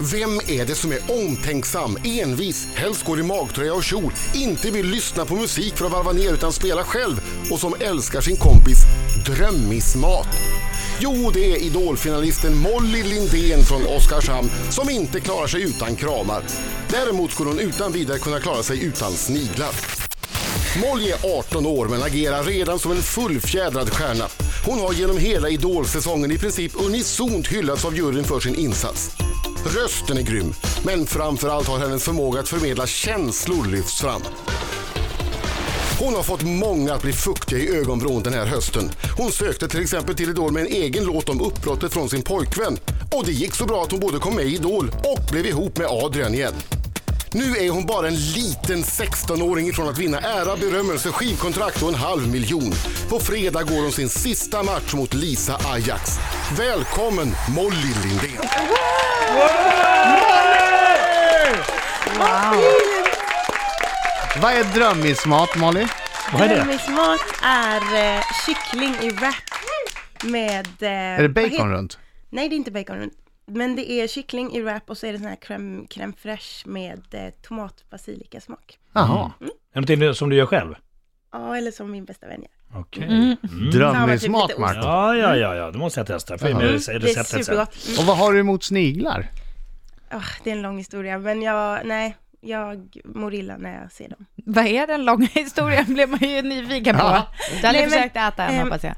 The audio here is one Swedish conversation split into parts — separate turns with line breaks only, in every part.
Vem är det som är omtänksam, envis, helst går i magtröja och kjol, inte vill lyssna på musik för att varva ner utan spela själv och som älskar sin kompis drömmismat? Jo, det är idolfinalisten Molly Lindén från Oskarshamn som inte klarar sig utan kramar. Däremot skulle hon utan vidare kunna klara sig utan sniglar. Molly är 18 år men agerar redan som en fullfjädrad stjärna. Hon har genom hela Idol-säsongen i princip unisont hyllats av juryn för sin insats. Rösten är grym, men framförallt har hennes förmåga att förmedla känslor lyfts fram. Hon har fått många att bli fuktiga i ögonvrån den här hösten. Hon sökte till exempel till Idol med en egen låt om uppbrottet från sin pojkvän. Och det gick så bra att hon både kom med i Idol och blev ihop med Adrian igen. Nu är hon bara en liten 16-åring ifrån att vinna ära, berömmelse, skivkontrakt och en halv miljon. På fredag går hon sin sista match mot Lisa Ajax. Välkommen Molly Lindén!
Vad är drömmismat Molly?
Vad är det?
Drömmismat är eh, kyckling i wrap med... eh,
Är det
vad heter-
bacon runt?
Nej, det är inte bacon runt. Men det är kyckling i wrap och så är det sån här crème, crème fraîche med eh, tomat basilikasmak.
Jaha.
Är det någonting som du gör själv?
Ja, eller som min bästa vän gör.
Okej.
Ja, men
Drömmismat
typ lite
Marco.
Ja, ja, ja, ja, det måste jag testa. Får jag med
Mm, det är
receptet sen.
supergott.
Och vad har du emot sniglar?
Åh, det är en lång historia, men jag, nej, jag mår illa när jag ser dem.
Vad är den långa historien blev man ju nyfiken på.
Ja.
Du hade
Nej, men,
försökt äta en
ehm,
hoppas jag.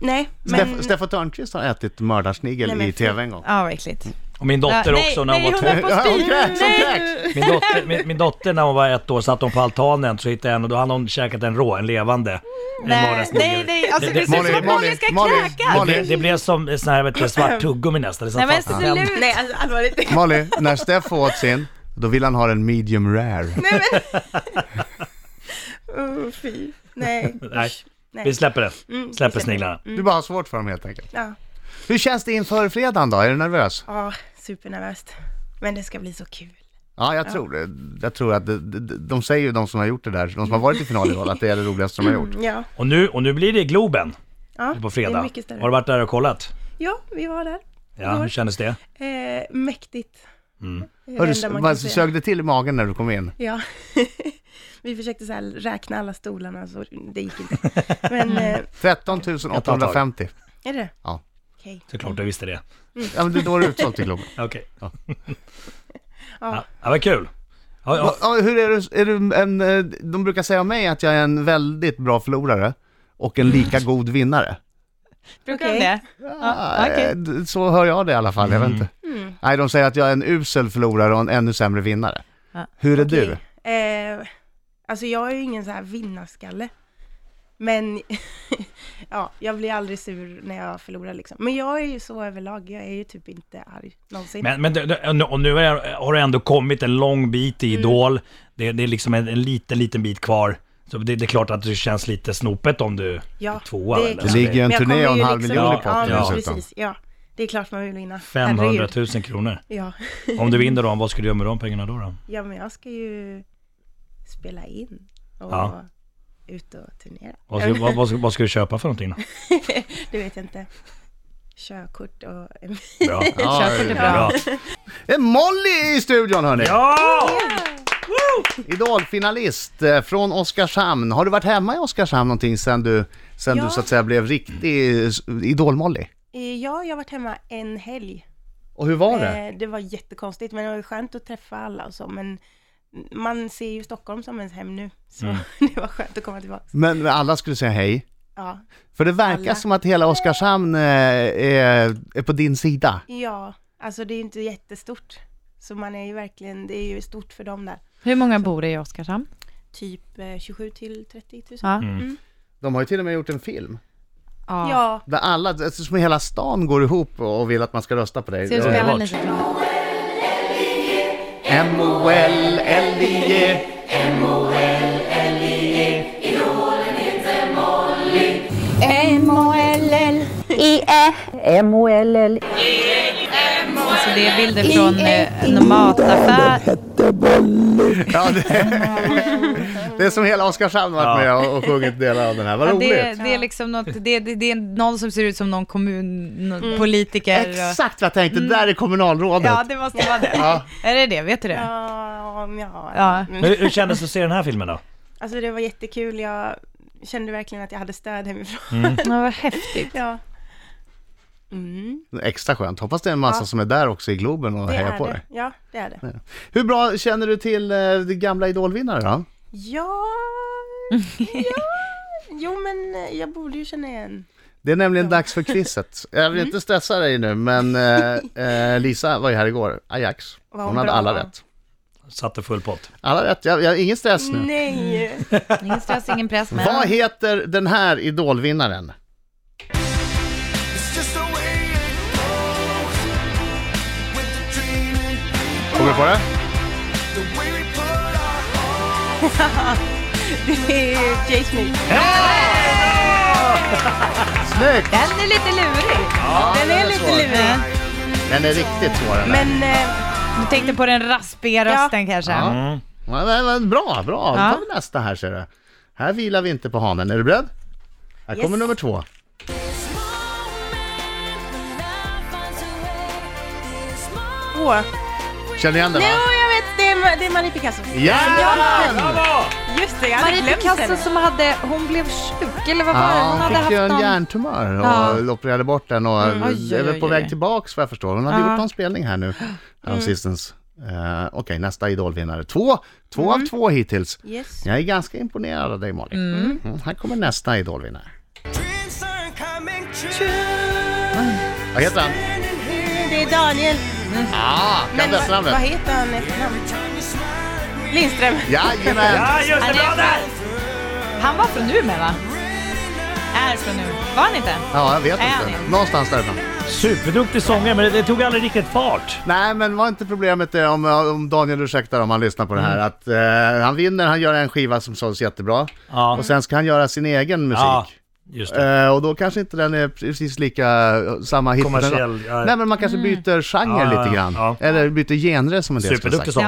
nej,
Steff-
men...
Steffan Törnqvist har ätit mördarsnigel
Nej, men
i tv en gång.
Ja, vad äckligt.
Och min dotter
Ja, nej,
Mm. också. När hon var
nej, hon
två...
höll på
Ja,
att
hon
spy.
kräks, hon
Nej.
kräks.
min, dotter, min, min dotter när hon var ett år satt hon på altanen så hittade jag en och då hade hon käkat en rå, en levande. En
Nej,
vardagsnigel.
nej, nej, alltså
Det-
det ser ut
Molly,
som att Molly ska
Molly,
kräkas.
Molly.
Det, det blev som eh, sån här, vet du, svart tuggummi nästan. Det satt
Nej men
fast i tänderna.
sluta.
Nej, alltså allvarligt.
Molly, när Steff åt sin, då vill han ha den medium rare.
Nej, men... oh, fy. Nej,
Nej.
usch. Nej.
Vi släpper det.
Mm, vi
Släpper sniglarna.
Du bara har svårt för dem helt enkelt.
Ja,
Hur känns det inför fredagen då? Är du nervös?
ja, supernervöst. Men det ska bli så kul.
Ja, jag tror det. Jag tror att de, de, de säger ju de som har gjort det där, de som har varit i final i år, att det är det roligaste de har gjort.
Ja,
Och nu, och nu blir det Globen
ja
på
det är
fredag.
mycket större.
Har du varit där och kollat?
Ja, vi var där.
Ja, hur kändes det?
Eh, mäktigt. Mm.
Hörru, vad sög det till i magen när du kom in?
Ja. vi försökte så här räkna alla stolarna, så det gick inte. Men, eh,
13
Jag tar tag.
850.
är det
Ja.
Okej.
Såklart du visste det.
Ja, men det är då är det utsålt i Globen.
Okej.
Ja.
Ja, ja, vad kul. Ja, ja.
Va- Ja, hur är du, är du en, eh, de brukar säga om mig att jag är en väldigt bra förlorare och en lika god vinnare.
Brukar
Okej.
de det?
Ah,
okej.
eh, d- Så hör jag det i alla fall, jag vet inte.
Mm.
Nej, de säger att jag är en usel förlorare och en ännu sämre vinnare.
Ja.
Hur är du?
Okej. Eh, alltså jag är ju ingen så här vinnarskalle. Men ja, jag blir aldrig sur när jag förlorar liksom. Men jag är ju så överlag, jag är ju typ inte arg någonsin.
Men, men du- du- och nu är, har du ändå kommit en lång bit i Idol. Det, det är liksom en, en liten, liten bit kvar. Så det, det är klart att det känns lite snopet om du är tvåa.
är
eller?
klart.
Det ligger ju en
Men jag
turné
kommer
och en
ju liksom-
halv miljon i potten
Ja, men
dessutom.
precis. Ja, det är klart man vill vinna.
500
Herregud.
000 kronor.
Ja.
Om du vinner dem, vad ska du göra med de pengarna då? då?
ja, men jag ska ju spela in och
Ja.
ut och turnera.
Vad, ska, vad, vad, ska, vad ska du köpa för någonting? Då?
Det vet jag inte. Körkort och...
Ja,
Bra.
Körkort är bra.
Bra.
Det är Molly i studion hörni!
Ja!
Idolfinalist eh, från Oskarshamn. Har du varit hemma i Oskarshamn någonting sen du, sen
Ja.
du så att säga blev riktig eh, s- Idol-Molly?
Ja, jag har varit hemma en helg.
Och hur var det?
Eh, Det var jättekonstigt, men det var ju skönt att träffa alla och så, men man ser ju Stockholm som ens hem nu, så
Mm.
det var skönt att komma tillbaka.
Men men alla skulle säga hej.
Ja,
För det verkar
Alla.
som att hela Oskarshamn eh, är, är på din sida.
ja alltså det är ju inte jättestort, så man är ju verkligen, det är ju stort för dem där.
Hur många bor det i Oskarshamn?
Typ eh, 27 till 30 000.
Ja.
Mm.
De har ju till och med gjort en film.
ja.
Ja,
Där alla, alltså, som hela stan går ihop och vill att man ska rösta på dig.
Ska du spela
Underbart.
en liten film?
M-O-L-L-I-E
M-O-L-L-I-E. M-O-L-L.
Så Alltså, det är bilder från eh, en mataffär.
Ja, det, det är som hela Oskarshamn varit med och, och sjungit delar av den här. Vad
Ja,
roligt!
det, det är liksom något, det, det, det är någon som ser ut som någon Mm. kommunpolitiker. Och,
Exakt vad jag tänkte, det där är kommunalrådet.
Mm. ja, det måste vara det.
Ja.
Är det det? Vet du det?
Ja, ja. Mm.
Ja.
Men hur, hur kändes det att se den här filmen då?
Alltså det var jättekul. Jag kände verkligen att jag hade stöd hemifrån.
Mm.
Ja, vad häftigt.
Ja. Mm,
Extra skönt. Hoppas det är en massa som är där också i Globen och
det
hejar
är
på
det.
dig.
Ja, det är det.
Hur bra känner du till eh, de gamla idolvinnare då?
Ja, ja. Jo, men eh, jag borde ju känna igen.
Det är nämligen dags för quizet. Jag
Mm.
vill inte stressa dig nu, men eh, eh, Lisa var ju här igår, Ajax.
Vad
Hon hade
bra.
alla rätt.
Satte full pott.
Alla rätt, jag, jag, ingen stress nu.
Nej!
Ingen stress, ingen press. Men...
Vad heter den här idolvinnaren? Kommer du på det?
Det är Jay Smith.
Snyggt!
Den är lite lurig.
Den är lite
svår.
lurig.
Den är riktigt svår den där.
Men eh,
Du tänkte på den raspiga rösten kanske?
Ja. Ja, men, men, bra, bra. Då
Ja.
tar vi nästa här ser du. Här vilar vi inte på hanen. Är du beredd? Här
Yes.
kommer nummer två.
åh.
Känner igen den
Jo,
va?
jag vet! Det är, det är Marie Picasso.
Jajamän!
Just det, jag hade
Marie
glömt henne.
Picasso som hade, hon blev sjuk eller vad var det?
Ja,
Hon
hon
hade
fick ju
haft
en
någon...
hjärntumör och
Ja. Mm.
opererade bort den och
Oj,
är
oj,
väl på
oj,
väg
oj.
tillbaks vad jag förstår. Hon hade
Ja. Mm.
gjort någon spelning här nu häromsistens. Eh, Okej, nästa idolvinnare. Två, två
Mm.
av två hittills.
Yes.
Jag är ganska imponerad av dig Malin. Mm, här kommer nästa idolvinnare. Vad heter han?
Det är Daniel.
Ah, kan du
vad,
efternamnet?
vad heter han efternamn? Lindström.
Jajamän!
Ja, just det! Bra där!
Han var från Umeå va? Är från Umeå. Var han inte?
Ja, jag vet
Är
inte.
ni?
Någonstans därifrån.
Superduktig sångare, men det, det tog aldrig riktigt fart.
Nej, men var inte problemet det, om, om Daniel ursäktar om han lyssnar på det
Mm.
här, att eh, han vinner, han gör en skiva som såldes jättebra,
Ja,
och sen ska han göra sin egen musik.
ja just det.
Eh, och då kanske inte den är precis lika, eh, samma hit.
Kommersiell, ja.
Nej men man kanske
Mm.
byter genre
Ja, ja,
lite grann.
ja.
Eller byter genre som en del skulle
Superduktig
sagt.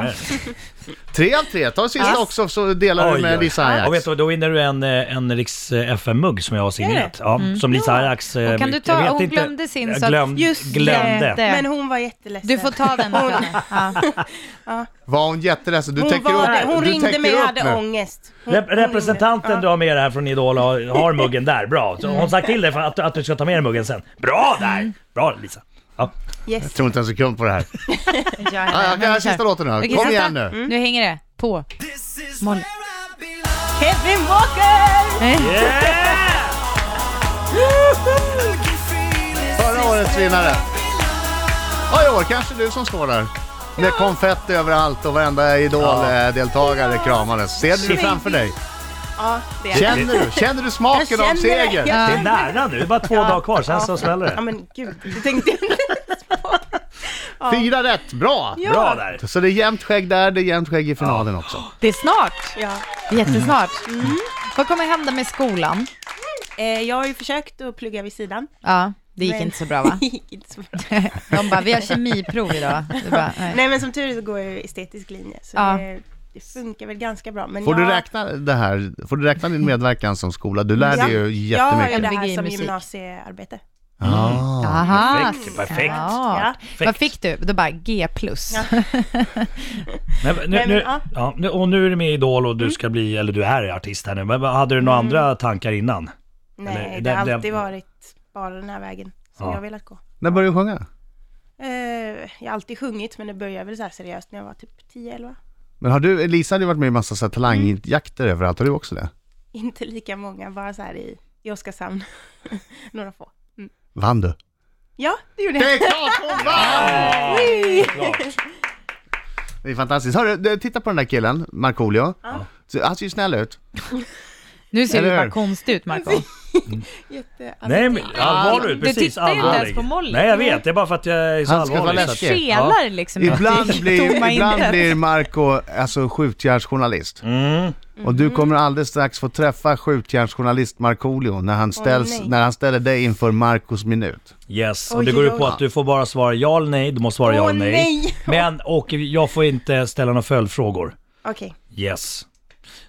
sångare.
Tre av tre, ta sista
Ja.
också så delar du
Oj,
med
oj.
Lisa
Ja, vet
Ajax.
du, då vinner du en, eh, en Riks FM-mugg som jag har signerat. Ja, Som Lisa Ajax... eh,
Mm. Och kan du ta-
jag vet
hon
inte-
glömde sin,
Jag
så att- eh,
glöm,
Just
glömde.
det.
Men hon var jätteledsen.
Du får ta den från henne. Ja.
Var hon jätteledsen? Du
hon
täcker
var
upp
det. Hon
du
ringde
täcker
mig och
upp
hade
nu.
ångest. Hon,
Rep- representanten
hon
du har med dig här från Idol har, har muggen där, bra. Så hon sagt till dig för att, att du ska ta med dig muggen sen. Bra där! Bra Lisa! Ja.
ringde. Yes.
Jag tror inte en sekund på det här. Ja, jag kan göra sista låten nu.
Okej,
Kom
sista.
igen nu.
Mm. Nu hänger det på. Molly.
Kevin Walker!
Yeah!
Förra årets vinnare. Och i år kanske du som står där. Med konfetti överallt och varenda Idol-deltagare kramades. Ser du det framför dig?
Ja, det är
Känner du, känner du
Jag
smaken av
känner det.
seger?
Jag
Det är nära nu, det är bara två dagar kvar, sen så smäller
Ja
det.
men gud, det tänkte jag inte ens på.
Fyra rätt, bra!
Ja.
Bra där!
Så det är jämnt skägg där, det är jämnt skägg i finalen också.
Det är snart.
Ja.
Mm.
Jättesnart. Vad kommer hända med skolan?
Eh, jag har ju försökt att plugga vid sidan.
Ja, det gick
Men-
inte så bra va?
Det gick inte så bra.
De bara, vi har kemiprov idag. Det bara, nej.
Nej men som tur är så går jag ju estetisk linje. Så
Ja.
det, det funkar väl ganska bra. Men
Får
jag,
du räkna det här, får du räkna din medverkan som skola? Du lär dig ju
Jag har ju
jättemycket.
det
LVG
här
i
som
musik.
gymnasiearbete. Mm.
Ah.
Aha,
Perfekt, perfekt.
smart.
Perfekt.
Vad fick du? Då bara G plus.
Men, nu,
men,
nu,
ja.
ja, nu, och nu är du med i Idol och
Mm.
du ska bli, eller du är artist här nu. Men vad- hade du några andra tankar innan? Eller,
Nej,
det-
det har
det-
alltid varit bara den här vägen som
Ja.
jag har velat gå.
När började du sjunga?
Eh, jag har alltid sjungit men det började väl så här seriöst när jag var typ 10-11.
Men har du, Lisa hade ju varit med i massa så här talangjakter överallt, har du också det?
Inte lika många, bara så här i, i Oskarshamn. Några få.
Vann du?
Ja, det gjorde
Det
jag.
är klart hon vann!
Klart.
Det är fantastiskt. Hörru, du, titta på den där killen, Markoolio. Så- Han ser ju snäll ut.
Nu ser
Eller
du bara
hur?
konstig ut Marco.
Jätte...
Nej men allvarlig ut,
Du
precis
tittar ju inte ens
allvarlig.
på Molly.
Nej jag vet, det är bara för att jag är så
Han ska vara
allvarlig. så att-
läskig.
Felar liksom.
Ibland blir,
Tomma
ibland
intet.
blir Marco alltså skjutjärnsjournalist.
Mm.
Och du kommer alldeles strax få träffa skjutjärnsjournalist Markoolio när han, ställs,
nej.
när han ställer dig inför Marcos minut.
Yes, och
Oj,
det går
oj,
ut på
oj.
att du får bara svara ja eller nej. Du måste svara ja
Åh,
eller nej.
nej.
Men, och jag får inte ställa några följdfrågor.
Okej.
Yes.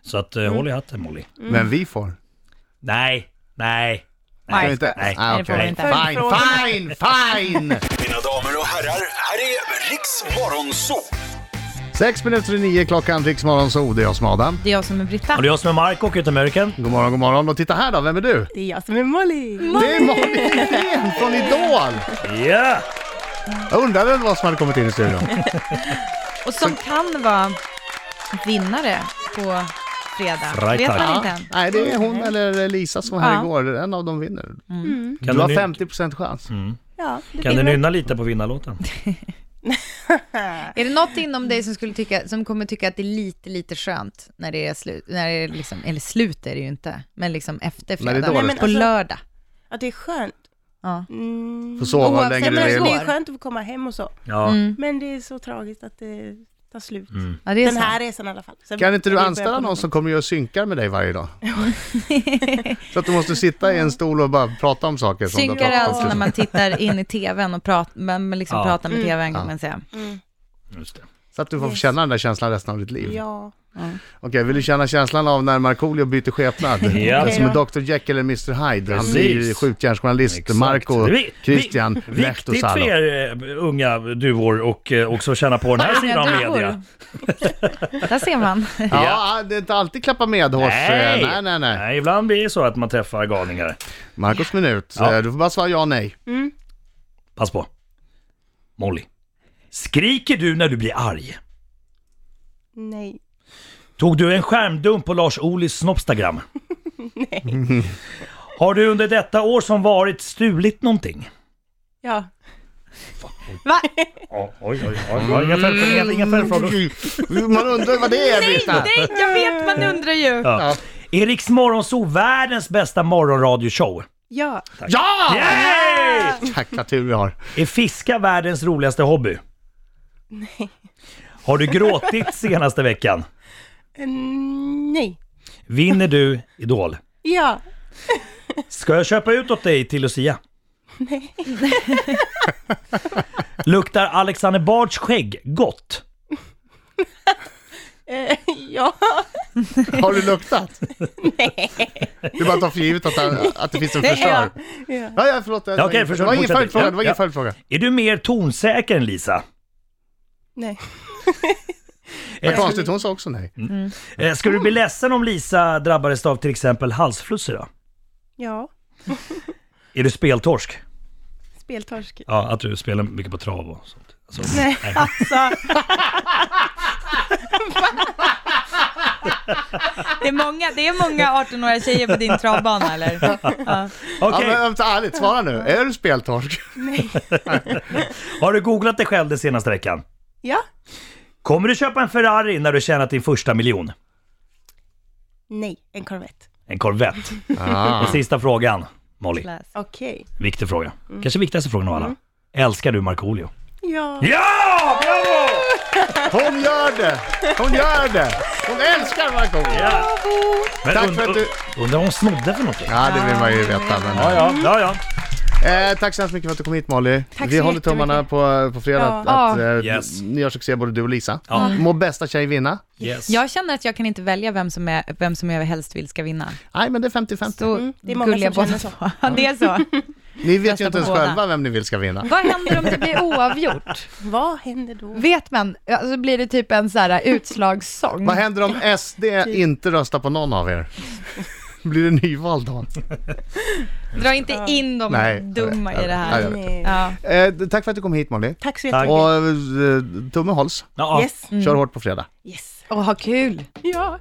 Så att, eh,
Mm.
håll i hatten Molly.
Men vi får.
Nej, nej.
Nej.
Kan vi inte?
Nej.
Nej, det får vi
okej.
inte.
Fine, fine, fine!
Mina damer och herrar, här är Riks Morgonzoo!
Sex minuter i nio klockan, Riksmorgon så det är jag som är Adam.
Det är jag som är Britta.
Och det är jag som är Mark och utan American.
God morgon, god morgon. Och titta här då, vem är du?
Det är jag som är Molly.
Det är Malin Lindgren från Idol!
Yeah!
Jag undrade vad som hade kommit in i studion.
Och som kan vara vinnare på fredag.
Right,
Vet
tack.
man
Ja.
inte än.
Nej, det är
Mm.
hon eller Lisa som var här
Ja.
igår. En av dem vinner.
Kan Mm.
Du
du,
har
ny-
50% chans.
Ja, det
kan
blir
du
bra.
nynna lite på vinnarlåten?
Är det något inom dig som, skulle tycka, som kommer tycka att det är lite, lite skönt när det är slut, när det är liksom, eller slut är det ju inte, men liksom efter
När det är dåligt.
fredag, på
Nej, men
alltså-
lördag?
Att det är skönt.
Ja.
Mm.
Får sova hur
Oavsett
länge du
vem
Men
det
vill.
går.
det är skönt att få komma hem och så.
Ja.
Men det är så tragiskt att det tar slut.
Mm. ja, det är
Den
sant.
här resan i alla fall. Så
Mm. Kan inte
vi
du
börjar
anställa
på
någon
noll.
som kommer och synkar med dig varje dag? Så att du måste sitta i en stol och bara prata om saker som du
Synkar
har pratat
alltså
om.
när man tittar in i tvn och pratar, men men liksom
Ja.
pratar
Mm.
med tvn kan man säga.
Just det.
Så att du får känna den där känslan resten av ditt liv.
Ja.
Okej, vill du känna känslan av när Markoolio byter skepnad?
Ja.
Det är Som är Dr Jekyll eller Mr Hyde. Han
Precis.
blir skjutjärnsjournalist,
Exakt.
Marco,
Vi-
Christian,
vi-
Lehto
Viktigt för
Salo.
er eh, unga duvor och eh, också känna på den här sidan av media.
Där ser man.
Ja, det är inte alltid klappa medhårs. Nej, nej, nej. nej.
nej. Ibland blir det så att man träffar galningar.
Marcos minut.
Ja.
Eh, Du får bara svara ja nej.
Pass på. Molly. Skriker du när du blir arg?
Nej.
Tog du en skärmdump på Lars Ohlys Snopstagram? Har du under detta år som varit stulit någonting?
Ja.
Va?
Ja, oj, oj, oj. Inga följdfrågor, inga följdfrågor.
Man undrar ju vad det är, Britta.
Nej, jag vet, man undrar ju.
Ja. Är Riks Morgonzoo världens bästa morgonradioshow?
Ja.
Ja!
Yay!
Tack, vad tur vi har.
Är fiska världens roligaste hobby? Nej. Har du gråtit senaste veckan?
Mm, nej.
Vinner du Idol?
Ja.
Ska jag köpa ut åt dig till Lucia? Nej. Luktar Alexander Bards skägg gott?
Eh, ja.
Har du luktat? Nej. Du bara tar för givet att, han- att det finns en förstör.
ja.
Ja, ja, förlåt.
Ja, okej,
det
försök
var ingen
fortsätta.
följdfråga. Det var
Ja.
ingen följdfråga.
Är du mer tonsäker än Lisa?
Nej.
Vad konstigt, hon sa också nej.
Eh, Ska du bli ledsen om Lisa drabbades av till exempel halsfluss idag?
Ja.
Är du speltorsk?
Speltorsk.
Ja, att du spelar mycket på trav och sånt. Alltså,
Nej, alltså.
Det är många, det är många 18-åriga tjejer på din travbana eller? Ja.
Ja,
Okej,
men vänta, ärligt, svara nu. Är du speltorsk?
har du googlat dig själv den senaste veckan?
Ja.
Kommer du köpa en Ferrari när du tjänat din första miljon?
Nej, en Corvette.
En Corvette.
Ah.
Och sista frågan, Molly.
Läs.
Okej.
Viktig fråga. Kanske viktigaste frågan av alla. Älskar du Markoolio?
Ja.
Ja! Bravo!
Hon gör det! Hon gör det! Hon älskar Markoolio!
Ja. Men
Tack för
und-
att du-
Undrar vad hon snodde för någonting?
Ja, det vill man ju veta. Men,
Ja, ja, ja, ja.
Eh, tack så hemskt mycket för att du kom hit Molly.
Tack
Vi
så
håller tummarna på, på fredag
Ja.
att, att eh,
Yes.
ni gör succé både du och Lisa.
Ja.
Må bästa tjej vinna.
Yes.
Jag känner att jag kan inte välja vem som, är, vem som jag helst vill ska vinna.
Nej men det är 50-50.
Så
det är många
gulliga
som
båda
känner
två. Ja, det är så.
Ni vet ju inte
på
ens
båda.
själva vem ni vill ska vinna.
Vad händer om det blir oavgjort?
Vad händer då?
Vet man, alltså blir det typ en så här utslagssång?
Vad händer om SD inte röstar på någon av er? Blir det nyval då?
Dra inte in de
Nej,
dumma
jag vet,
i det
jag
här.
vet.
Nej.
Ja.
Eh, tack för att du kom hit Molly.
Tack så
Tack.
jättemycket.
Och eh, tummen hålls.
Ja, ja.
Yes.
Kör hårt på fredag.
Yes.
Och ha kul!
Ja.